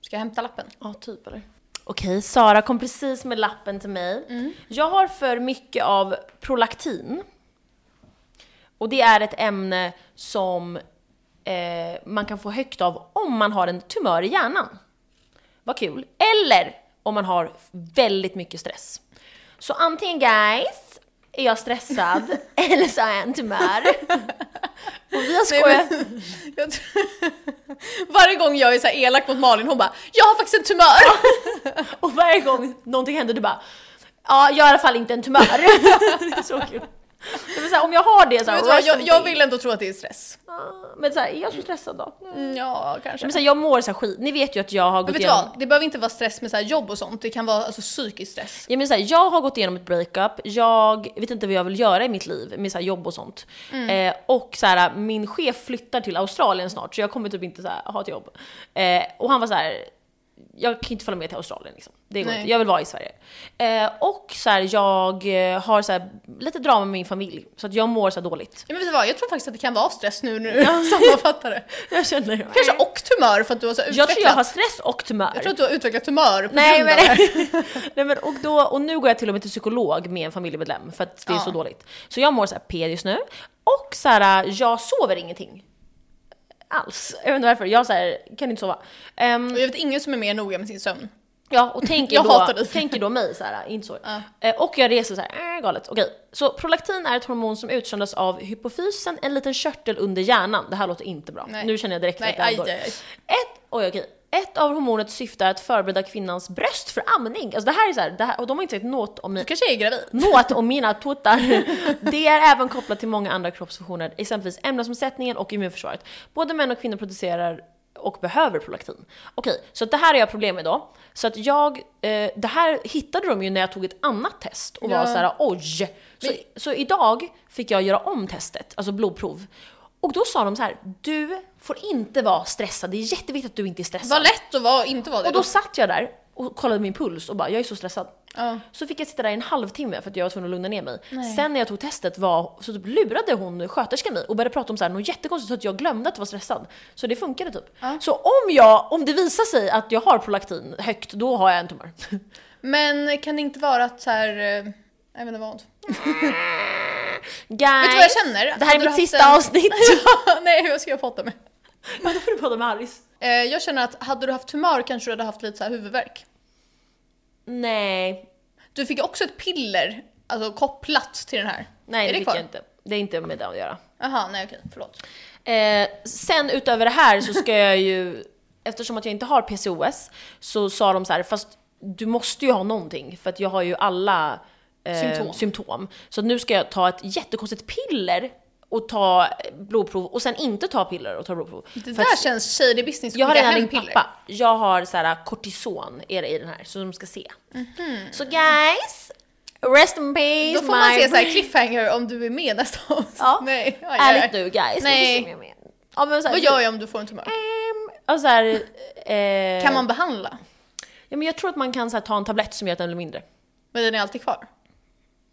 B: Ska jag hämta lappen?
A: Ja, typ eller? Okej, Sara kom precis med Mm. lappen till mig. Jag har för mycket av prolaktin. Och det är ett ämne som eh, man kan få högt av om man har en tumör i hjärnan. Vad kul. Eller om man har väldigt mycket stress. Så antingen guys, är jag stressad eller så har jag en tumör. Och vi har
B: Nej,
A: skojat.
B: men- jag tror, varje gång jag är så här elak mot Malin, hon bara “Jag har faktiskt en tumör!”
A: Och varje gång någonting händer du bara Ja, jag har i alla fall inte en tumör. det är så kul. Det vill säga, om jag har det så här,
B: Vet du vad,
A: rest
B: jag,
A: in
B: jag
A: peace.
B: vill ändå tro att det är stress.
A: Ah, Men så här, är jag så stressad då? Mm.
B: Ja, kanske.
A: Men så här, jag mår så här skit. Ni vet ju att jag har
B: Men
A: gått
B: vet du
A: igenom...
B: vad? Det behöver inte vara stress med så här jobb och sånt, det kan vara alltså, psykisk stress.
A: Jag, menar så här, jag har gått igenom ett breakup, jag vet inte vad jag vill göra i mitt liv med så här jobb och sånt.
B: Mm.
A: Eh, och så här, min chef flyttar till Australien snart så jag kommer typ inte så här, ha ett jobb. Eh, och han var så här. jag kan inte följa med till Australien liksom. Det går
B: Nej.
A: inte. Jag vill vara i Sverige. Eh, och så här, jag eh, har så här, lite drama med min familj så att jag mår så här dåligt.
B: Ja, men vet du vad? Jag tror faktiskt att det kan vara stress nu när du sammanfattar det.
A: Jag känner...
B: Kanske och tumör för att du har så här
A: Jag
B: utvecklat.
A: tror jag har stress och tumör.
B: jag tror att du har utvecklat tumör på
A: Nej
B: grund av det här.
A: men, nej men och, då, och nu går jag till och med till psykolog med en familjemedlem för att det är
B: Ja.
A: så dåligt. Så jag mår så här P just nu och så här, äh, jag sover ingenting. Alls. Jag vet inte varför, jag så här, kan inte sova. Ehm,
B: Och jag vet ingen som är mer noga med sin sömn.
A: ja, och tänker,
B: Jag hatar
A: då,
B: dig.
A: tänker då mig så här, inte så. Eh, och jag reser så här, äh, galet. Okej. Så prolaktin är ett hormon som utsöndras av hypofysen, en liten körtel under hjärnan. Det här låter inte bra.
B: Nej.
A: Nu känner jag direkt
B: Nej,
A: att det här
B: aj,
A: går.
B: aj, aj.
A: Ett, oj, okej. Ett av hormonets syfte är att förbereda kvinnans bröst för amning. Alltså det här är så här, det här, och de har inte sagt något om,
B: Du
A: mi,
B: kanske är gravid.
A: något om mina tuttar. Det är även kopplat till många andra kroppsfunktioner, exempelvis ämnesomsättningen och immunförsvaret. Både män och kvinnor producerar och behöver prolaktin. Okej, så att det här har jag problem med då. Så att jag, eh, det här hittade de ju när jag tog ett annat test och var
B: Ja.
A: så här, oj! Så, så idag fick jag göra om testet, alltså blodprov. Och då sa de så här, du får inte vara stressad, det är jätteviktigt att du inte är stressad.
B: Var lätt att vara, inte vara det.
A: Och då satt jag där och kollade min puls och bara, jag är så stressad.
B: Ja.
A: Så fick jag sitta där i en halvtimme för att jag var tvungen att lugna ner mig. Sen när jag tog testet var, så typ lurade hon sköterskan mig och började prata om så här, något jättekonstigt så att jag glömde att vara stressad. Så det funkade typ. Så om, jag, om det visar sig att jag har prolaktin högt, då har jag en tumör.
B: Men kan det inte vara att så här, eh, jag vet inte vad.
A: Guys,
B: Vet du vad jag känner?
A: det här är
B: Hade du
A: mitt
B: haft
A: sista
B: en-
A: avsnitt.
B: Nej, jag ska jag prata med?
A: Men då får du prata med Harris.
B: Eh, jag känner att hade du haft tumör kanske du hade haft lite så här huvudvärk.
A: Nej,
B: Du fick ju också ett piller, alltså kopplat till den här.
A: nej
B: är
A: det,
B: det
A: fick
B: kvar?
A: jag inte. Det är inte med det att göra.
B: Aha, nej okej, förlåt.
A: Eh, sen utöver det här så ska jag ju, eftersom att jag inte har PCOS, så sa de så här, fast du måste ju ha någonting för att jag har ju alla eh,
B: Symptom.
A: symptom. Så nu ska jag ta ett jättekonstigt piller och ta blodprov och sen inte ta piller och ta blodprov.
B: Det
A: För att
B: där känns shady business,
A: jag har
B: skicka
A: redan
B: hem
A: ringt
B: piller.
A: pappa. Jag har så här kortison är det i den här, så de ska se. Så guys, rest in peace
B: Mhm. Då får man
A: my
B: se så här
A: brain.
B: cliffhanger om du är med nästa avsnitt.
A: Ja.
B: Nej, aj, aj, aj.
A: Ärligt nu guys.
B: Nej.
A: Vi får se om jag är med. Ja, men så här,
B: Vad gör jag om du får en tumör?
A: Ehm, och så här, eh,
B: Kan man behandla?
A: ja, men jag tror att man kan så här, ta en tablett som gör att den blir mindre.
B: Men den är alltid kvar?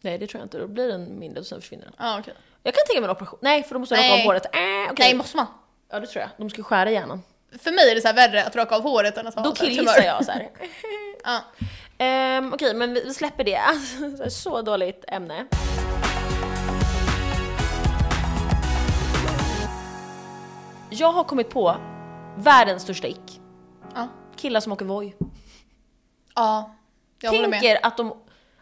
A: Nej det tror jag inte, då blir den mindre och sen försvinner den.
B: Ja, Ah, okej.
A: Jag kan tänka mig en operation, nej för då måste jag raka
B: Nej.
A: av håret. Äh, okej.
B: Nej, måste man?
A: Ja det tror jag, de ska skära hjärnan.
B: För mig är det så här värre att raka av håret än att ha
A: Då
B: så här
A: killgissar
B: tumör.
A: jag så här.
B: Ja.
A: Ehm, Okej men vi vi släpper det, Alltså, så här, så dåligt ämne. Jag har kommit på världens största ick.
B: Ja.
A: Killar som åker Voi.
B: ja, jag håller med.
A: tänker att de,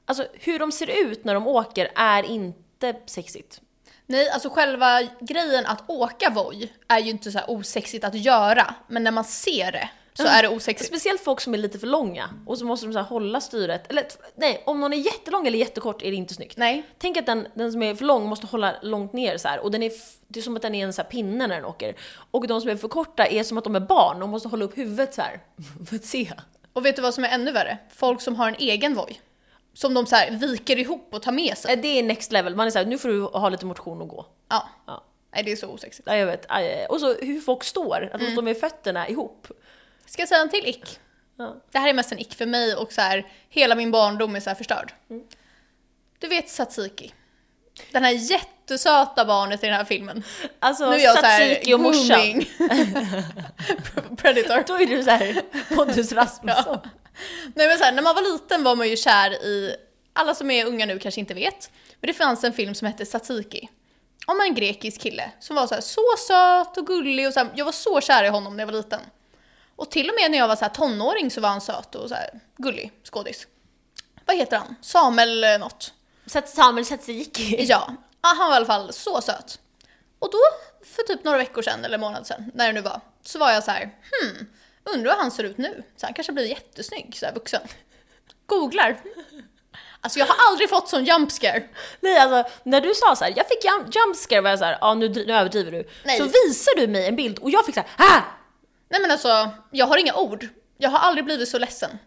A: alltså hur de ser ut när de åker är inte sexigt.
B: Nej, alltså själva grejen att åka Voi är ju inte så här osexigt att göra, men när man ser det så är det osexigt.
A: Speciellt folk som är lite för långa och så måste de så här hålla styret. Eller t- nej, om någon är jättelång eller jättekort är det inte snyggt.
B: Nej.
A: Tänk att den, den som är för lång måste hålla långt ner så här och den är, f- det är som att den är en så här pinne när den åker. Och de som är för korta är som att de är barn och måste hålla upp huvudet så här för att se.
B: Och vet du vad som är ännu värre? Folk som har en egen Voi. Som de så här viker ihop och tar med sig.
A: Eh, Det är next level, man är såhär nu får du ha lite motion och gå.
B: Ja.
A: Ja.
B: Nej, det är så osexigt.
A: Ja, jag vet. Aj, aj, aj. Och så hur folk står, att de står med fötterna ihop.
B: Ska jag säga en till ick?
A: Ja.
B: Det här är mest en ick för mig och så här, hela min barndom är så här förstörd. Du vet Satsiki? Den här jättesöta barnet i den här filmen.
A: Alltså
B: nu är jag så
A: tzatziki
B: här
A: och morsan.
B: grooming. Predator.
A: Då är du såhär Pontus Rasmusson.
B: Nej men så här, när man var liten var man ju kär i, alla som är unga nu kanske inte vet, men det fanns en film som hette Satsiki. om en grekisk kille som var så, här, så söt och gullig och så här, jag var så kär i honom när jag var liten. Och till och med när jag var så här, tonåring så var han söt och så här, gullig skådis. Vad heter han? Samuel eh, något.
A: Så att Samuel Tsatsiki.
B: Ja, ah, han var i alla fall så söt. Och då, för typ några veckor sedan eller månad sedan, när det nu var, så var jag så här, hmm, undrar hur han ser ut nu? Så han kanske blir jättesnygg, så här vuxen. Googlar. Alltså jag har aldrig fått sån jump scare.
A: Nej alltså, när du sa så här, jag fick jump, jumpscare var jag såhär, ja nu, dri- nu överdriver du.
B: Nej.
A: Så visar du mig en bild och jag fick såhär, ah!
B: Nej men alltså, jag har inga ord. Jag har aldrig blivit så ledsen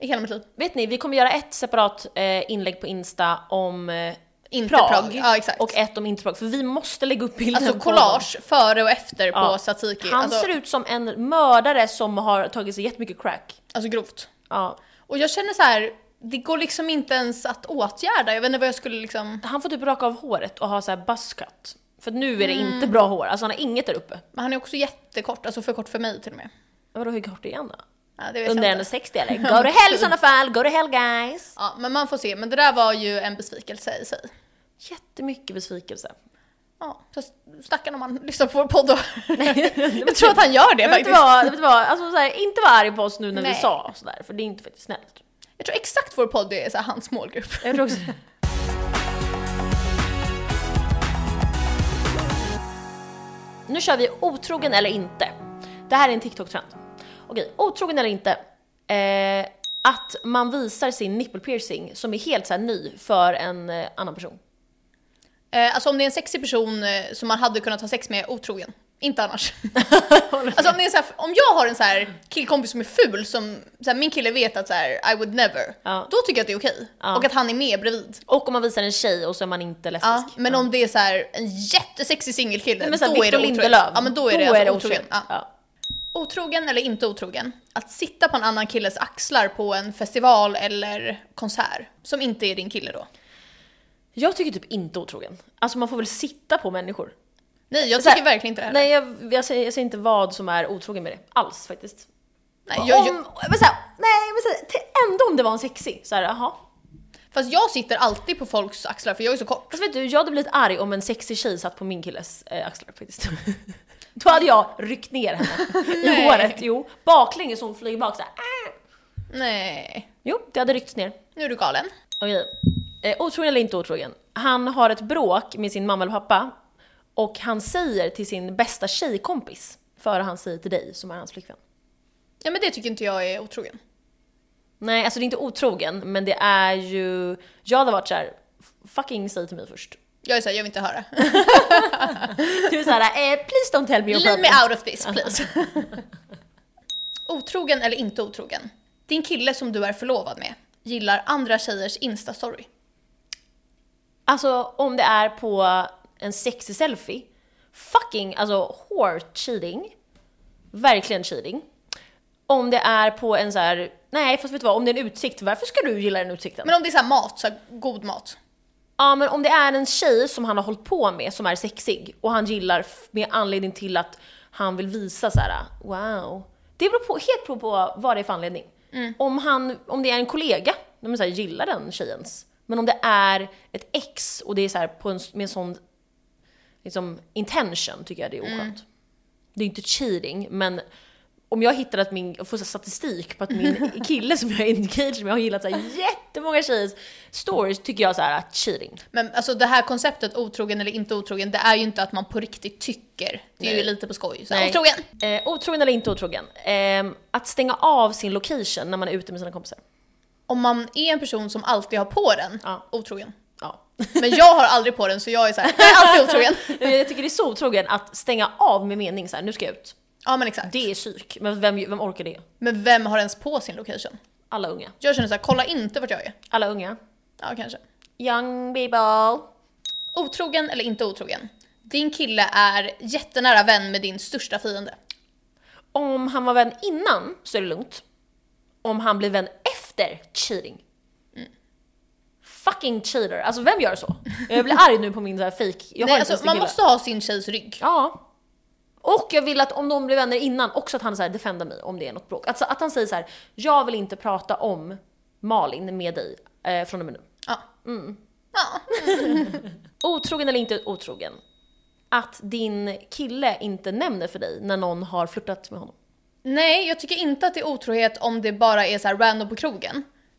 B: i hela mitt liv.
A: Vet ni, vi kommer göra ett separat eh, inlägg på Insta om eh,
B: Inte
A: Prag,
B: Prag. Ja, exakt.
A: och ett om inte Prag, för vi måste lägga upp bilden
B: alltså
A: på
B: collage före och efter
A: Ja.
B: på Tsatsiki.
A: Han
B: Alltså,
A: ser ut som en mördare som har tagit sig jättemycket crack.
B: alltså grovt.
A: Ja.
B: Och jag känner så här, det går liksom inte ens att åtgärda. Jag vet inte vad jag skulle liksom...
A: Han får typ raka av håret och ha så här buzzcut. För nu är det
B: Mm.
A: inte bra hår, alltså han har inget där uppe.
B: Men han är också jättekort, alltså för kort för mig till och med.
A: Ja, Vadå hur kort är han då?
B: Ja, det vet
A: Under
B: jag inte.
A: 1,60 eller? Go to hell i sådana fall, go to hell guys!
B: Ja, men man får se. Men det där var ju en besvikelse i sig.
A: Jättemycket besvikelse.
B: Ja, så stackarn om han lyssnar på vår podd och...
A: jag
B: Jag tror att han gör det
A: vet du
B: faktiskt.
A: vad, vet du vad? Alltså, så här, inte vara arg på oss nu när vi
B: Nej.
A: sa sådär, för det är inte faktiskt snällt.
B: Jag tror exakt vår podd är så här, hans målgrupp.
A: Jag tror också Nu kör vi otrogen eller inte. Det här är en TikTok-trend. Okej, otrogen eller inte. Eh, att man visar sin nippelpiercing som är helt så här ny för en eh, annan person.
B: Eh, alltså om det är en sexig person eh, som man hade kunnat ha sex med otrogen. Inte annars. alltså om, det är så här, om jag har en så här killkompis som är ful, som så här, min kille vet att så här, I would never,
A: Ja.
B: då tycker jag att det är okej. Och att han är med bredvid.
A: Och om man visar en tjej och så är man inte lesbisk.
B: Ja, men om det är så här, en jättesexig singelkille,
A: Nej,
B: då
A: men så här,
B: är det
A: Victor
B: otrogen.
A: Lindelöf.
B: Ja, men då är det, alltså otrogen.
A: otrogen.
B: Ja.
A: Ja.
B: Otrogen eller inte otrogen, att sitta på en annan killes axlar på en festival eller konsert, som inte är din kille då.
A: Jag tycker typ inte otrogen. Alltså man får väl sitta på människor.
B: Nej, jag
A: Så
B: tycker
A: här-
B: verkligen inte det här.
A: Nej jag, jag, säger, jag säger inte vad som är otrogen med det. Alls faktiskt.
B: Nej, jag, jag,
A: Om, men såhär, nej men såhär, t- ändå om det var en sexig. Såhär, jaha.
B: fast jag sitter alltid på folks axlar för jag är så kort.
A: Fast Alltså, vet du, jag hade blivit arg om en sexig tjej satt på min killes eh, axlar faktiskt. Då hade jag ryckt ner henne i
B: Nej.
A: håret, jo. Baklänges så hon flyger bak såhär. ah.
B: Nej,
A: Jo, det hade ryckts ner.
B: nu är du galen.
A: Okej. Eh, otrogen eller inte otrogen? Han har ett bråk med sin mamma eller pappa och han säger till sin bästa tjejkompis före han säger till dig som är hans flickvän.
B: Ja men det tycker inte jag är otrogen.
A: Nej, alltså det är inte otrogen, men det är ju... Jag hade varit såhär, fucking säg till mig först.
B: Jag är såhär, jag vill inte höra.
A: Du är såhär, eh, please don't tell me your
B: Leave
A: problem.
B: me out of this please. otrogen eller inte otrogen? Din kille som du är förlovad med gillar andra tjejers instastory.
A: Alltså om det är på en sexig selfie, fucking alltså whore cheating. Verkligen cheating. Om det är på en så här, nej fast vet du vad, om det är en utsikt, varför ska du gilla den utsikten?
B: Men om det är såhär mat, så här, god mat.
A: Ja men om det är en tjej som han har hållit på med som är sexig och han gillar f- med anledning till att han vill visa så här: wow. Det beror på, helt beror på vad det är för anledning. Om, han, om det är en kollega, de är så här, gillar den tjejens. Men om det är ett ex och det är så här, på en, s- med en sån liksom, intention tycker jag det är oskönt. Det är inte cheating men om jag hittar att min, jag får så här statistik på att min kille som jag är engaged med har gillat så här jättemånga tjejers stories tycker jag så här att cheating.
B: Men alltså det här konceptet otrogen eller inte otrogen, det är ju inte att man på riktigt tycker. Det är ju lite på skoj. Så här,
A: Nej.
B: otrogen!
A: Eh, otrogen eller inte otrogen? Ehm, att stänga av sin location när man är ute med sina kompisar.
B: Om man är en person som alltid har på den,
A: Ja.
B: otrogen.
A: Ja.
B: Men jag har aldrig på den så jag är såhär, jag är alltid otrogen.
A: jag tycker det är så otrogen att stänga av med mening så här, nu ska jag ut.
B: Ja men exakt.
A: Det är psyk, men vem, vem orkar det?
B: Men vem har ens på sin location?
A: Alla unga.
B: Jag känner såhär, kolla inte vart jag är.
A: Alla unga.
B: Ja kanske.
A: Young people.
B: Otrogen eller inte otrogen? Din kille är jättenära vän med din största fiende.
A: Om han var vän innan så är det lugnt. Om han blir vän efter, cheating. Fucking cheater. Alltså vem gör så? Jag blir arg nu på min så här fake. Jag har
B: Nej,
A: inte ens
B: alltså,
A: en
B: man
A: kille.
B: måste ha sin tjejs rygg.
A: Ja. Och jag vill att om de blir vänner innan, också att han så här defendar mig om det är något bråk. Alltså att han säger så här: jag vill inte prata om Malin med dig eh, från och med nu.
B: Ja. Ja.
A: Otrogen eller inte otrogen? att din kille inte nämner för dig när någon har flörtat med honom?
B: Nej, jag tycker inte att det är otrohet om det bara är så här random på krogen.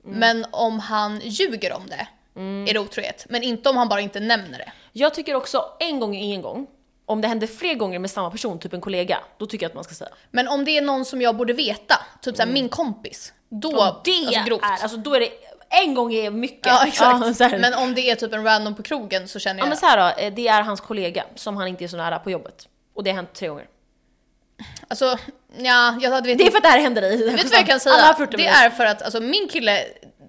A: Mm.
B: Men om han ljuger om det är det otrohet. Men inte om han bara inte nämner det.
A: Jag tycker också en gång är en gång. Om det händer fler gånger med samma person, typ en kollega, då tycker jag att man ska säga.
B: Men om det är någon som jag borde veta, typ såhär min kompis, då,
A: Och Mm. det
B: alltså grovt.
A: är, alltså då är det, en gång är mycket.
B: Ja exakt.
A: så här.
B: men om det är typ en random på krogen så känner
A: Ja
B: jag...
A: men så här då, eh, det är hans kollega som han inte är så nära på jobbet. Och det har hänt tre gånger.
B: Alltså, ja, jag hade
A: Det är för att det här händer dig.
B: Vet du vad jag kan säga?
A: Alla har flörtat med
B: det
A: dig.
B: är för att alltså, min kille,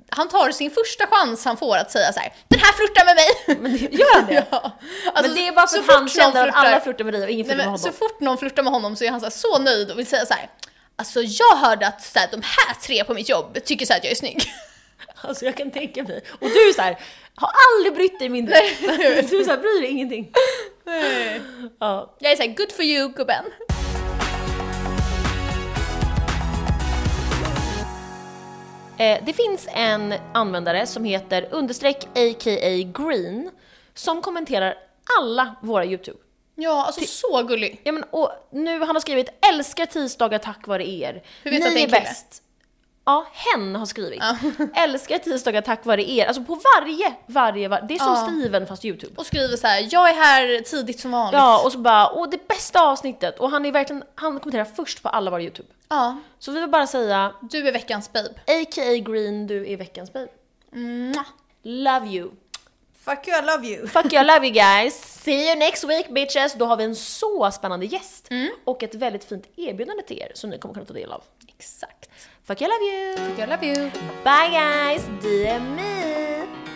B: han tar sin första chans han får att säga så här: den här flörtar med mig!
A: Gör han det?
B: ja. Alltså,
A: men det är bara för
B: så
A: att han
B: fort någon
A: kände att alla
B: flörtar-
A: flörtar med dig och ingen
B: Nej,
A: flörtar med
B: men,
A: honom.
B: så fort någon flörtar med honom så är han så, här, så nöjd och vill säga så här. Alltså jag hörde att så här, de här tre på mitt jobb tycker så här att jag är snygg.
A: Alltså jag kan tänka mig. Och du är så här, har aldrig brytt dig mindre. du är så här, bryr dig ingenting. Ja.
B: Jag är såhär, good for you gubben.
A: Eh, det finns en användare som heter understreck aka green som kommenterar alla våra YouTube.
B: Ja, alltså så gullig.
A: Ja, men, och nu han har skrivit “Älskar tisdagar tack vare er”.
B: Hur vet du
A: Ni
B: att det är en kille?
A: bäst. Ja, hen har skrivit. “Älskar tisdagar tack vare er”. Alltså på varje, varje, varje. Det är som
B: Ja.
A: Steven fast YouTube.
B: Och skriver så här: jag är här tidigt som vanligt.
A: Ja, och så bara “Åh, det bästa avsnittet” och han är verkligen, han kommenterar först på alla våra YouTube.
B: Ja,
A: Så vi vill bara säga
B: du är veckans babe.
A: “A.k.a. Green, du är veckans babe”.
B: Mwah.
A: Love you.
C: Fuck you, I love you.
A: Fuck you, I love you guys. See you next week bitches. Då har vi en så spännande gäst
B: Mm.
A: och ett väldigt fint erbjudande till er som ni kommer kunna ta del av.
B: Exakt.
A: Fuck you, I love you.
B: I love you.
A: Bye guys, DM me.